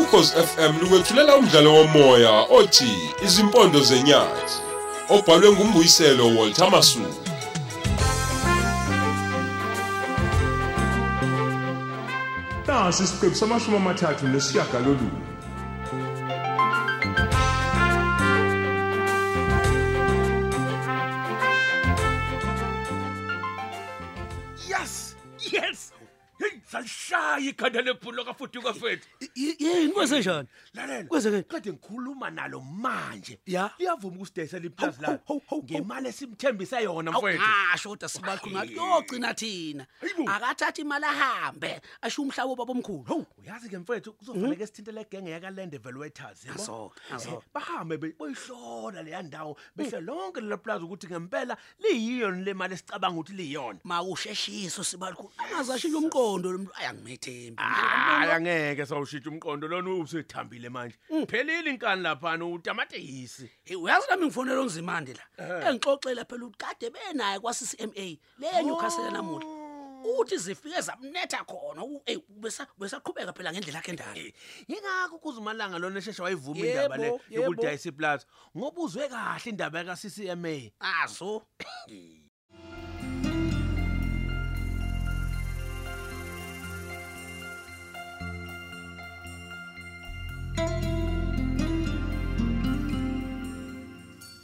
Ukhozi FM lukwethulela umdlalo womoya othi Izimpondo zenyathi obhalwe ngumbuyiselo Walter Masuku. Nasi isiqephu samashumi amathathu nesiyagalolunye. yes yes hey salishaya ikhanda lebhulo kafuduka fethu yini kwesenjani lalela Kwenzeke- kade ngikhuluma nalo manje Ya. liyavuma ukusidayisa liplazi Hawu, hawu, hawu, lakho hawu. ngemali esimthembisa yona mfowethu awasho kodwa sibaqhunga kuyogcina thina Hayibo. akathatha imali ahambe asho umhlawu babomkhulu hawu uyazi ke mfethu kuzofanele sithinte le genge yakaland evaluators yabo? Aso, aso. Eh, bahambe be- boyihlola leya ndawo behle lonke lela plazi ukuthi ngempela liyiyona le mali esicabanga ukuthi liyiyona mawusheshiso sibaqhunga angazashiya umqondo lo muntu ayangimethembi Ah. hayi Ah, angeke sawushintsha umqondo lona usethambile manje phelile inkani laphana utamatisi Hey uyazi nami ngifonela onzimande la. Engixoxela phela ukuthi kade benaye kwaCCMA Oh. le Newcastle namuhla. Uthi zifike zamnetha khona u- hey besa besaqhubeka phela ngendlela yakhe endala. yingakho kuzimalanga lona esheshe wayivuma Yebo, indaba le yebo. yokudayisa iplaza ngoba uzwe kahle indaba yaka-ccma Azo.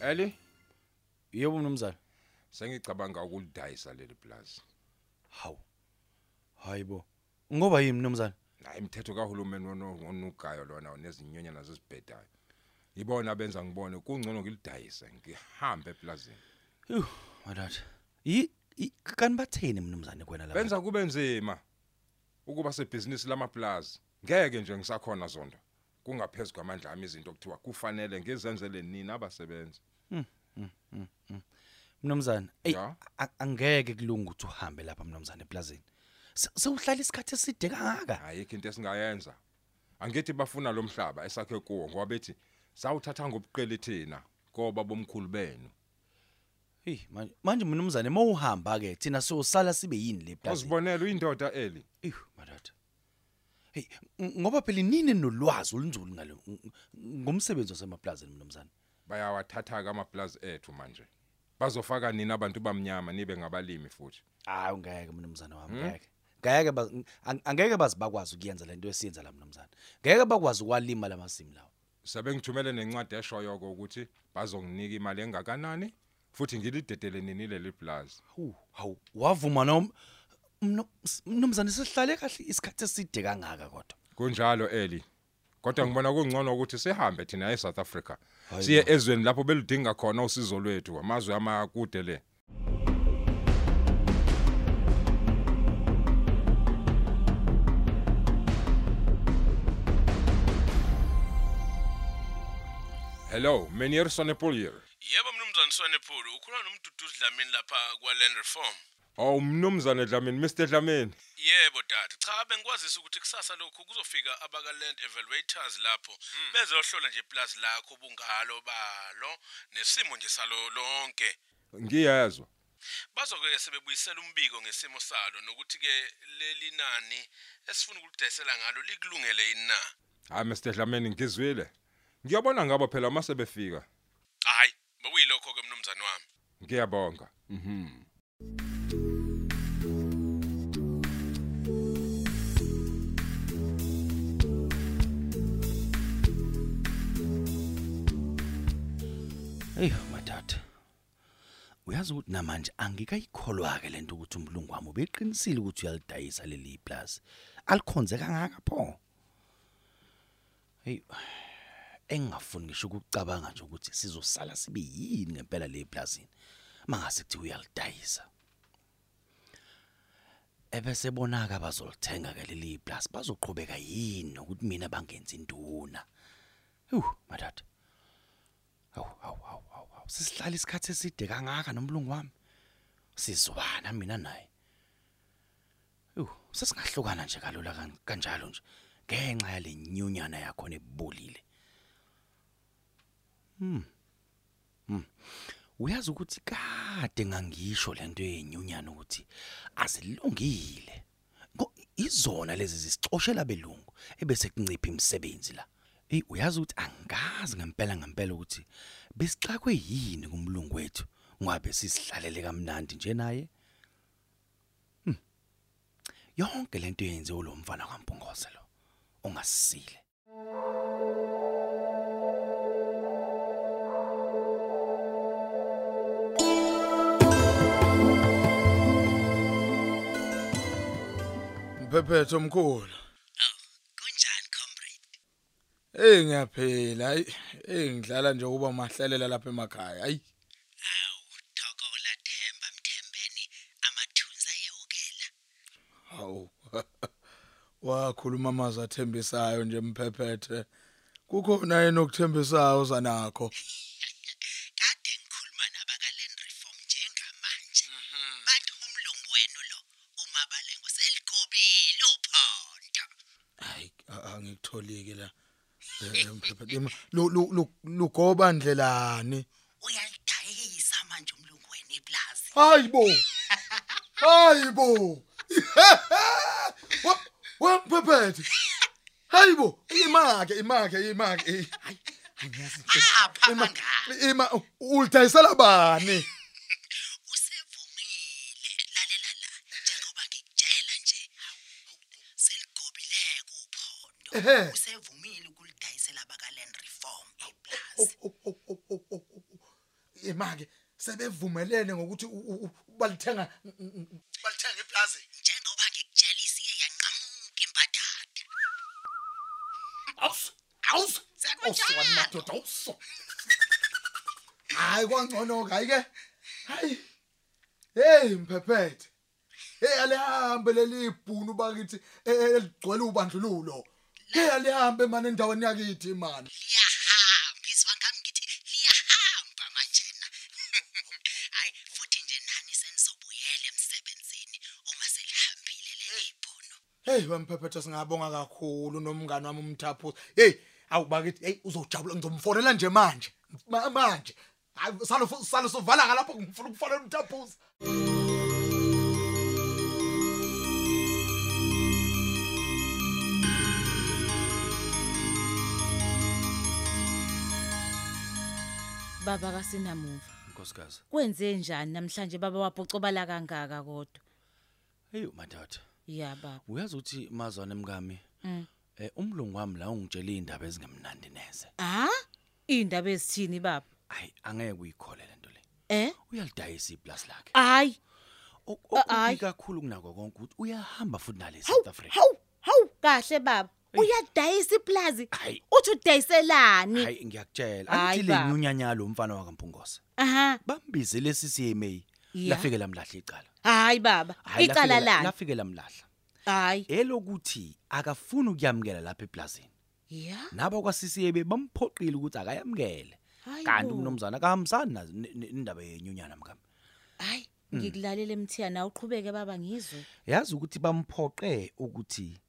Ali yebo mnumzane Sengicabanga ukulidayisa leli plaza. hawu hayibo ngoba yini mnumzane Hayi imithetho kahulumeni wonugayo lona nezinyonyana zesibhedayo. Ibona benza ngibone kungcono ngilidayise ngihambe eplazini. Yu, madad yi yi- kani batheni mnumzane kwena la Benza kube nzima ukuba sebhizinisi lamaplaza. Ngeke nje ngisakhona zonto. Kungaphezulu kwamandla ami izinto okuthiwa kufanele ngizenzele nina abasebenzi. mnumzane ey Ya. a- angeke kulunga ukuthi uhambe lapha mnumzane eplazini Se- sewuhlala isikhathi eside kangaka Ayikho into esingayenza. Angithi bafuna lo mhlaba esakhe kuwo ngoba bethi sawuthatha ngobuqili thina koba bomkhulu benu. hey manje manje mnumzane mawuhamba ke thina sosala sibe yini le plaza Uzibonela uyindoda eli. ew madad hey ng- ngoba phela nini nolwazi olunzulu ngalo ng- ngomsebenzi wasemaplazini mnumzane Bayawathatha ka amaplaza ethu manje. Bazofaka nina abantu bamnyama nibe ngabalimi futhi. hayi ungeke mnumzane wami ngeke ngeke ba- ng- ang- angeke bazibakwazi ukuyenza lento esiyenza la mnumzane ngeke bakwazi ukwalima lamasimu lawo Sebengithumele nencwadi eshoyo ukuthi bazonginika imali engakanani futhi ngilidedele nini leli plaza. Hu, hawu wavuma no Mnu- s- mnumzane sihlale kahle isikhathi eside kangaka kodwa Kunjalo eli. Kodwa ngibona kungcono ukuthi sihambe thina eSouth Africa. Siye ezweni lapho beludinga khona usizo lwethu amazwe amakude le. Hello, Menier Sonepolier. yebo mnumzane swanephulu ukhuluma nomduduzi dlamini lapha kwaland reform Oh mnumzane Dlamini, Mr Dlamini. yebo dade cha bengikwazisa ukuthi kusasa lokhu kuzofika abakaland evaluators lapho bezohlola nje iplazi lakho bungalo balo nesimo nje salo lonke Ngiyazwa. bazoke sebebuyisela umbiko ngesimo salo nokuthi-ke leli nani esifuna ukulidayisela ngalo likulungele yini na Hayi Mr Dlamini ngizwile. Ngiyabona ngabo phela mase befika. hhayi bekuyilokho-ke mnumzane wami Ngiyabonga. eyi madada uyazi ukuthi namanje angikayikholwa-ke lento ukuthi umlungu wami ubeqinisile ukuthi uyalidayisa leli plasi alikhonze kangaka pho heyi engingafuni ngisho ukucabanga nje ukuthi sizosala sibe yini ngempela le plazini mangase kuthiwa uyalidayisa ebesebonaka bazolithenga-ke leli plasi bazoqhubeka yini nokuthi mina bangenzi induna yu madada Hawu hawu hawu hawu hawu sisihlala isikhathi eside kangaka nomlungu wami. Sizwana mina naye. Yu, sesingahlukana nje kalula kan- kanjalo nje ngenxa yale nyunyana yakho nebulile. Hmm. Uyazi ukuthi kade ngangisho lento yenyunyana ukuthi azilungile. Ngo- izona lezi zisicoshela belungu ebese kuncipha imisebenzi la eyi uyazi ukuthi angazi ngempela ngempela ukuthi besixakwe yini kumlungu wethu ngabe sisihlalele kamnandi nje naye Hmm. yonke lento yenziwe lo mfana kaMpungose lo ongasisile Mphephetho omkhulu. Kunjani comrade? Eh ngiyaphila. Hayi eh ngidlala nje ukuba mahlelela lapha emakhaya. Hayi Awu thokola Themba Mthembeni amathunza ayewukela. hawu. Wakhuluma amazwi athembisayo nje mphephethe. Kukhona yena okuthembisayo zanakho. Kade ngikhuluma nabakaland reform njengamanje. Bathi umlungu wenu lo umabalengo seligobile uphondo. Hayi a- angikutholike la. Eh, Mphephethe Ima- lu- lu- lu- lugoba ndlelani? Uyalidayisa manje umlungu wenu iplaza. Hayibo. Hayibo. Wa- Wa mphephethe. Hayibo, imake, imake, imake. eh. Hayi, angiyazi. Apha Ima- mangaka ima ulidayisela bani usevumile lalela la njengoba ngikutshela nje. Seligobileke uphondo. ehe Usevumile ukulidayisela abakaland reform iplaza. Oh, imake sebevumelene ngokuthi u- u- u- balithenga balithenga iplaza njengoba ngikutshela isiye yanqamuka imbadada awuso awuso awuso madoda awuso hayi kwangcono ke hayi ke hayi hey mphephethe hey alihambe lelibhunu bakithi eh, eligcwele ubandlululo hey alihambe manje endaweni yakithi manje liyahamba izwa ngami ngithi liyahamba manjena hayi futhi nje nani senizobuyela emsebenzini uma selihambile leli bhono Hey wamphephetha singabonga kakhulu nomngane wami umthaphu. Hey awubakithi hey uzojabula ngizomfonela nje manje. Ma- Manje. Hayi salo salo sovala ngalapho ngifuna ukufonela umthaphu. Baba kasinamuva. nkosikazi Kwenze njani namhlanje baba wapocobala kangaka kodwa? heyo madoda Ya baba. uyazi ukuthi mazwane mkami Mm. eh umlungu wami la ungitshela indaba ezingemnandi neze Ah? Indaba ezithini baba? hayi angeke uyikhole lento le Eh? uyalidayisa iplus lakhe Hayi. O- ayi. okubi kakhulu kunako konke ukuthi uyahamba futhi nale South Africa Haw, haw, kahle baba. Uyadayisa iplazi. Hayi. Uthi udayiselani? hayi ngiyakutshela Hayi, angithile baba. nyunyanya lo mfana wakaMpungose Aha. bambize lesi CMA Ya. lafike lamlahla icala Hayi baba. Hhayi, lafike Icala la- lani? lafike lamlahla Hayi. elokuthi akafuni ukuyamkela lapha eplazini Ya. nabo kwaSisibe bamphoqile ukuthi akayamkele kanti umnumzana akahambisani nazo ne- ne- indaba yenyunyana mkami Hayi, Mm. ngikulalela emthia na uqhubeke baba ngizwe. yazi ukuthi bamphoqe ukuthi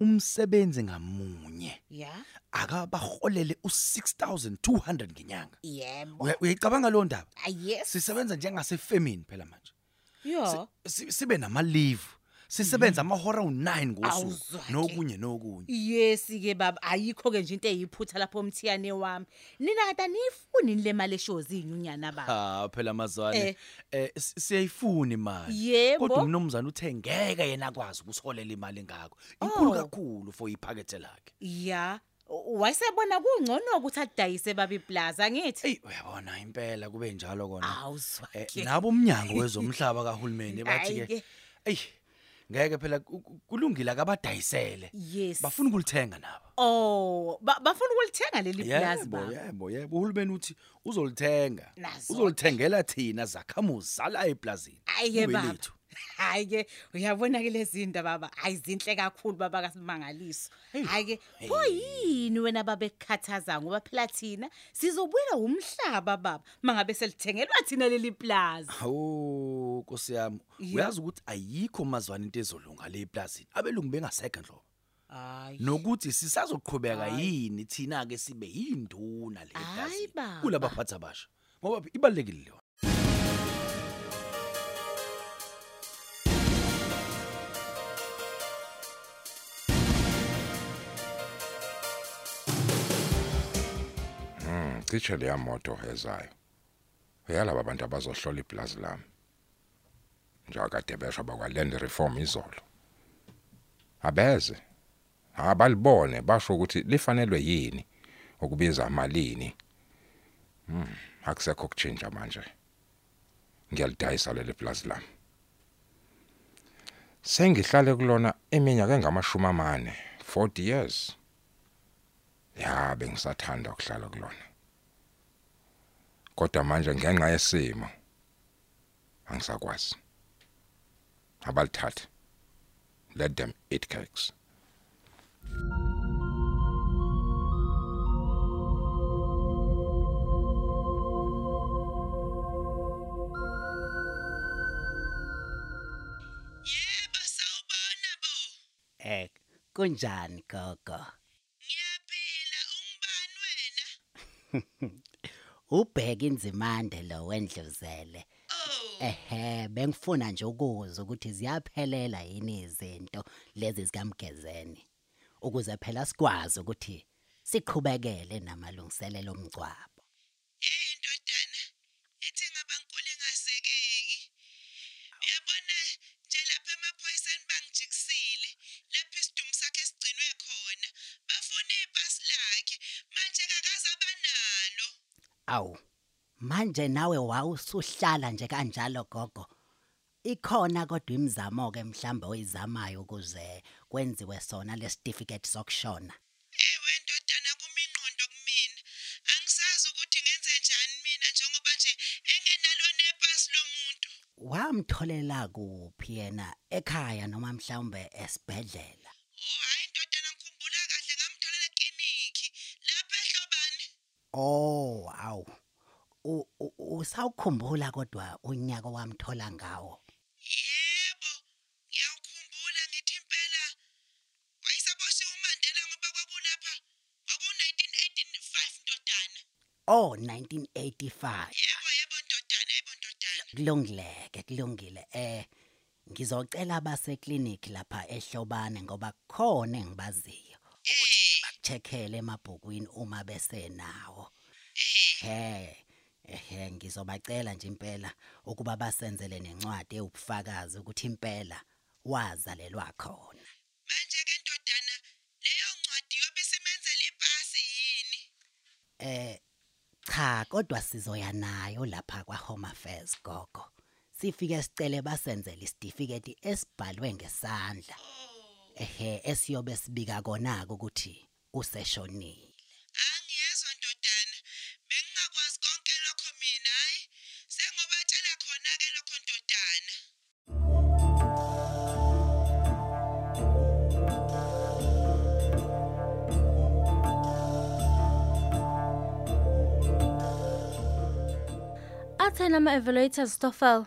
umsebenzi ngamunye Ya. akabaholele u6200 ngenyanga Yebo. Uya- uyayicabanga leyo ndaba Ah, Yes. Oh. sisebenza njengasefemini phela manje Yo. Si- sibe nama leave sisebenza Mhm. amahora u9 ngosuku Awuzwa-ke. nokunye nokunye Yes ke baba ayikho ke nje into eyiphutha lapho umthiyane wami. Nina kada nifuni le mali eshozi inyunyana baba. ha Ah, phela amazwane Eh. eh si- siyayifuna imali Yebo. kodwa umnumzana uthe ngeke yena akwazi ukusolela imali engakho inkulu Oh. kakhulu for iphakethe lakhe Ya. u- Wayesebona kungcono ukuthi adayise baba iplaza ngithi. eyi uyabona impela kube njalo kona Awuzwa eh ke. nabo umnyango wezomhlaba kahulumeni bathi Hhayi-ke. ke eyi ngeke phela ku- ku- kulungile akabadayisele Yes. bafuna ukulithenga nabo Oh, ba- bafuna ukulithenga leli plaza yebo baba. yebo yebo uhulumeni uthi uzolithenga Nazo-ke. uzolithengela thina zakhamuzi zala eplazini Hhayi-ke, Kube baba. lethu. Hayi ke uyabona ke lezi zinto baba ayizinhle kakhulu baba kasimangaliso. Hayi ke pho yini wena baba ekukhathaza ngoba phela thina sizobuyela umhlaba baba mangabe selithengelwa thina leli plaza. Hawu Nkosi yami, Yeah. uyazi ukuthi ayikho mazwana into ezolunga le plazini. Abelungu bengaseke ndlo. Hayi. Nokuthi sisazoqhubeka yini thina ke sibe yinduna le Hayi, plazini. baba. Kulabaphathi abasha. Ngoba ibalekile leyo. ngicishe leya moto ezayo uyalaba abantu abazohlola iplazi lami njakade besho bakwaland reform izolo abeze abalibone basho ukuthi lifanelwe yini ukubiza malini hmm akusekho ukutshintsha manje ngiyalidayisa leli plazi lami sengihlale kulona iminyaka engamashumi amane 40 years ya bengisathanda ukuhlala kulona kodwa manje ngenxa yesimo angisakwazi abalithathe let them eat cakes Yebo sawubona bo. Eh, kunjani gogo? Ngiyaphila ungubani wena? Ubheka inzimande lo wendluzele. Oh, Ehhe, bengifuna nje ukuza ukuthi ziyaphelela yini izinto lezi zikamgezeni. Ukuze phela sikwazi ukuthi siqhubekele namalungiselelo omgcwabo. hey ndodana. Ethi ngaba nkulu engazekeki. Uyabona nje lapha emaphoyiseni bangijikisile. Lapha isidumbu sakhe sigcinwe khona. Bafuna ibhasi lakhe. Manje kakaza banalo. Awu. Manje nawe wawusuhlala nje kanjalo gogo. Ikhona kodwa imizamo ke mhlambe oyizamayo ukuze kwenziwe sona le certificate sokushona. Ewe ndodana kuma ingqondo kumina. Angisazi ukuthi ngenze njani mina njengoba nje engenalo nepasi lomuntu. wamtholela kuphi yena ekhaya noma mhlawumbe esibhedlela Oh hayi ndodana ngikhumbula kahle ngamthola ekliniki lapha ehlobani. oh awu U- u- usawukhumbula kodwa unyaka wamthola ngawo Yebo, ngiyakukhumbula ngithi impela wayesaboshiwe uMandela ngoba kwakulapha kwaku-1985 ndodana. oh 1985 Yebo yebo ndodana, yebo ndodana. kulungileke kulungile eh ngizocela abase clinic lapha ehlobane ngoba khona engibaziyo ukuthi nje bakucheckele emabhukwini uma bese nawo ehe ehe ngizobacela nje impela ukuba basenzele nencwadi ewubufakazi ukuthi impela wazalelwa khona Manje ke ndodana, leyo ncwadi yobe simenzele ipasi yini? eh cha kodwa sizoya nayo lapha kwa Home Affairs gogo sifike sicele basenzele isitifiketi esibhalwe ngesandla ehe esiyobe sibika kona ukuthi useshonile Angiyezwa ndodana, bengingakwazi konke lokho mina, hayi. Sengobatshela khona ke lokho ndodana. athena ama-evaluators stofel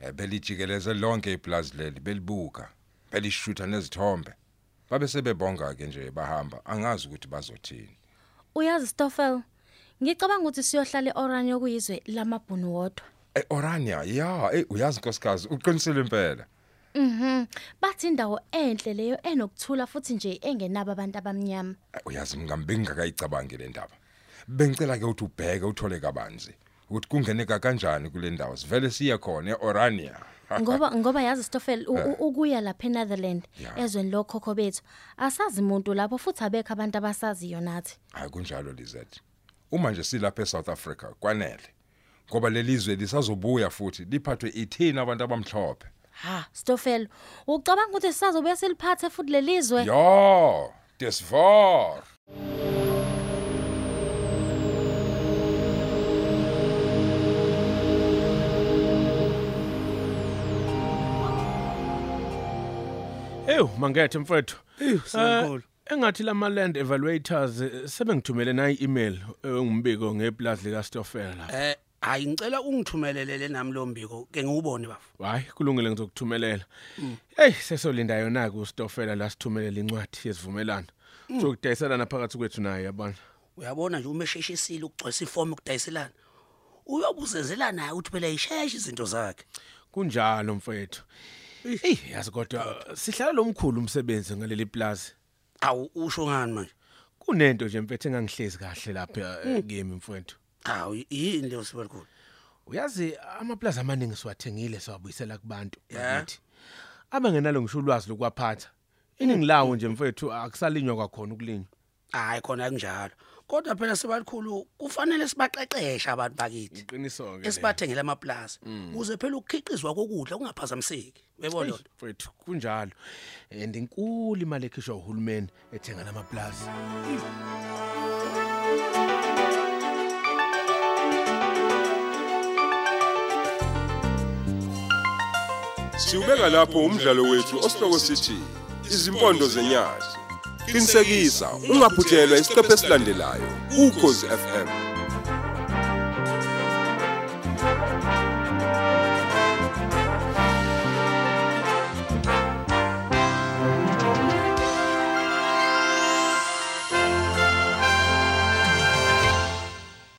Eh, belijikeleze lonke iplazi leli belibuka belishutha nezithombe babe sebebonga ke nje bahamba angazi ukuthi bazothini uyazi stofel ngicabanga ukuthi siyohlala e-oranje okuyizwe lamabhunu wodwa eorania Eh, ya eh uyazi nkosikazi uqinisele impela Mhm. Bathi indawo enhle leyo enokuthula futhi nje engenabo abantu abamnyama. Eh, uyazi mngam bengingakayicabangi le ndaba bengicela ke ukuthi ubheke uthole kabanzi ukuthi kungeneka kanjani kule ndawo sivele siye khona eorania Ngoba ngoba yazi Stoffel u- u- ukuya lapha eNetherlands Ya. ezweni lokhokho bethu. Asazi umuntu lapho futhi abekho abantu abasaziyo nathi. hayi kunjalo lizet uma nje silapha eSouth Africa kwanele ngoba lelizwe lisazobuya futhi liphathwe ithina abantu abamhlophe Ha, Stoffel, ucabanga ukuthi sisazobuya siliphathe futhi lelizwe? Ja, dis waar. Ew mangethe mfethu. sanqulu. Eh, Engathi lama land evaluators eh, sebengithumele nayi eh, email ngimbiko ngeplaza lika Stoffel lapha. Eh hayi ngicela ungithumelelele nami lo mbiko ke ngiwubone bafu. Hayi kulungile ngizokuthumelela. Hey sesolinda yona ku Stoffel la sithumelela incwadi yesivumelano. Sokudayiselana phakathi kwethu naye yabona. Uyabona nje umesheshesile ukugcwesa ifomu ukudayiselana. Uyobuzenzelana naye ukuthi phela isheshe izinto zakhe. Kunjalo mfethu. Hey yazi kodwa eh, sihlala lomkhulu umsebenzi ngaleli plaza. Awu usho ngani manje? Kunento nje mfethu engangihlezi kahle lapha eh, kimi mfethu. Hawu yini leyo sibelkhulu? uyazi amaplaza amaningi siwathengile siwabuyisela kubantu Yeah. bakithi. abengenalo ngisho ulwazi lokwaphatha iningi lawo nje mfethu akusalinywa kwakhona ukulinywa Hayi khona kunjalo. Kodwa phela sibakhulu kufanele sibaqeqeshe abantu bakithi. Iqiniso ke. Esibathengele amaplaza Mm. ukuze phela ukukhiqizwa kokudla kungaphazamiseki. Uyabona Eish, mfethu kunjalo and inkulu imali ekhishwa uhulumeni ethenga lamaplaza Siubeka lapho umdlalo wethu osihloko sithi izimpondo zenyazi. Qinisekisa ungaphuthelwa isiqephu esilandelayo. Ukhozi FM.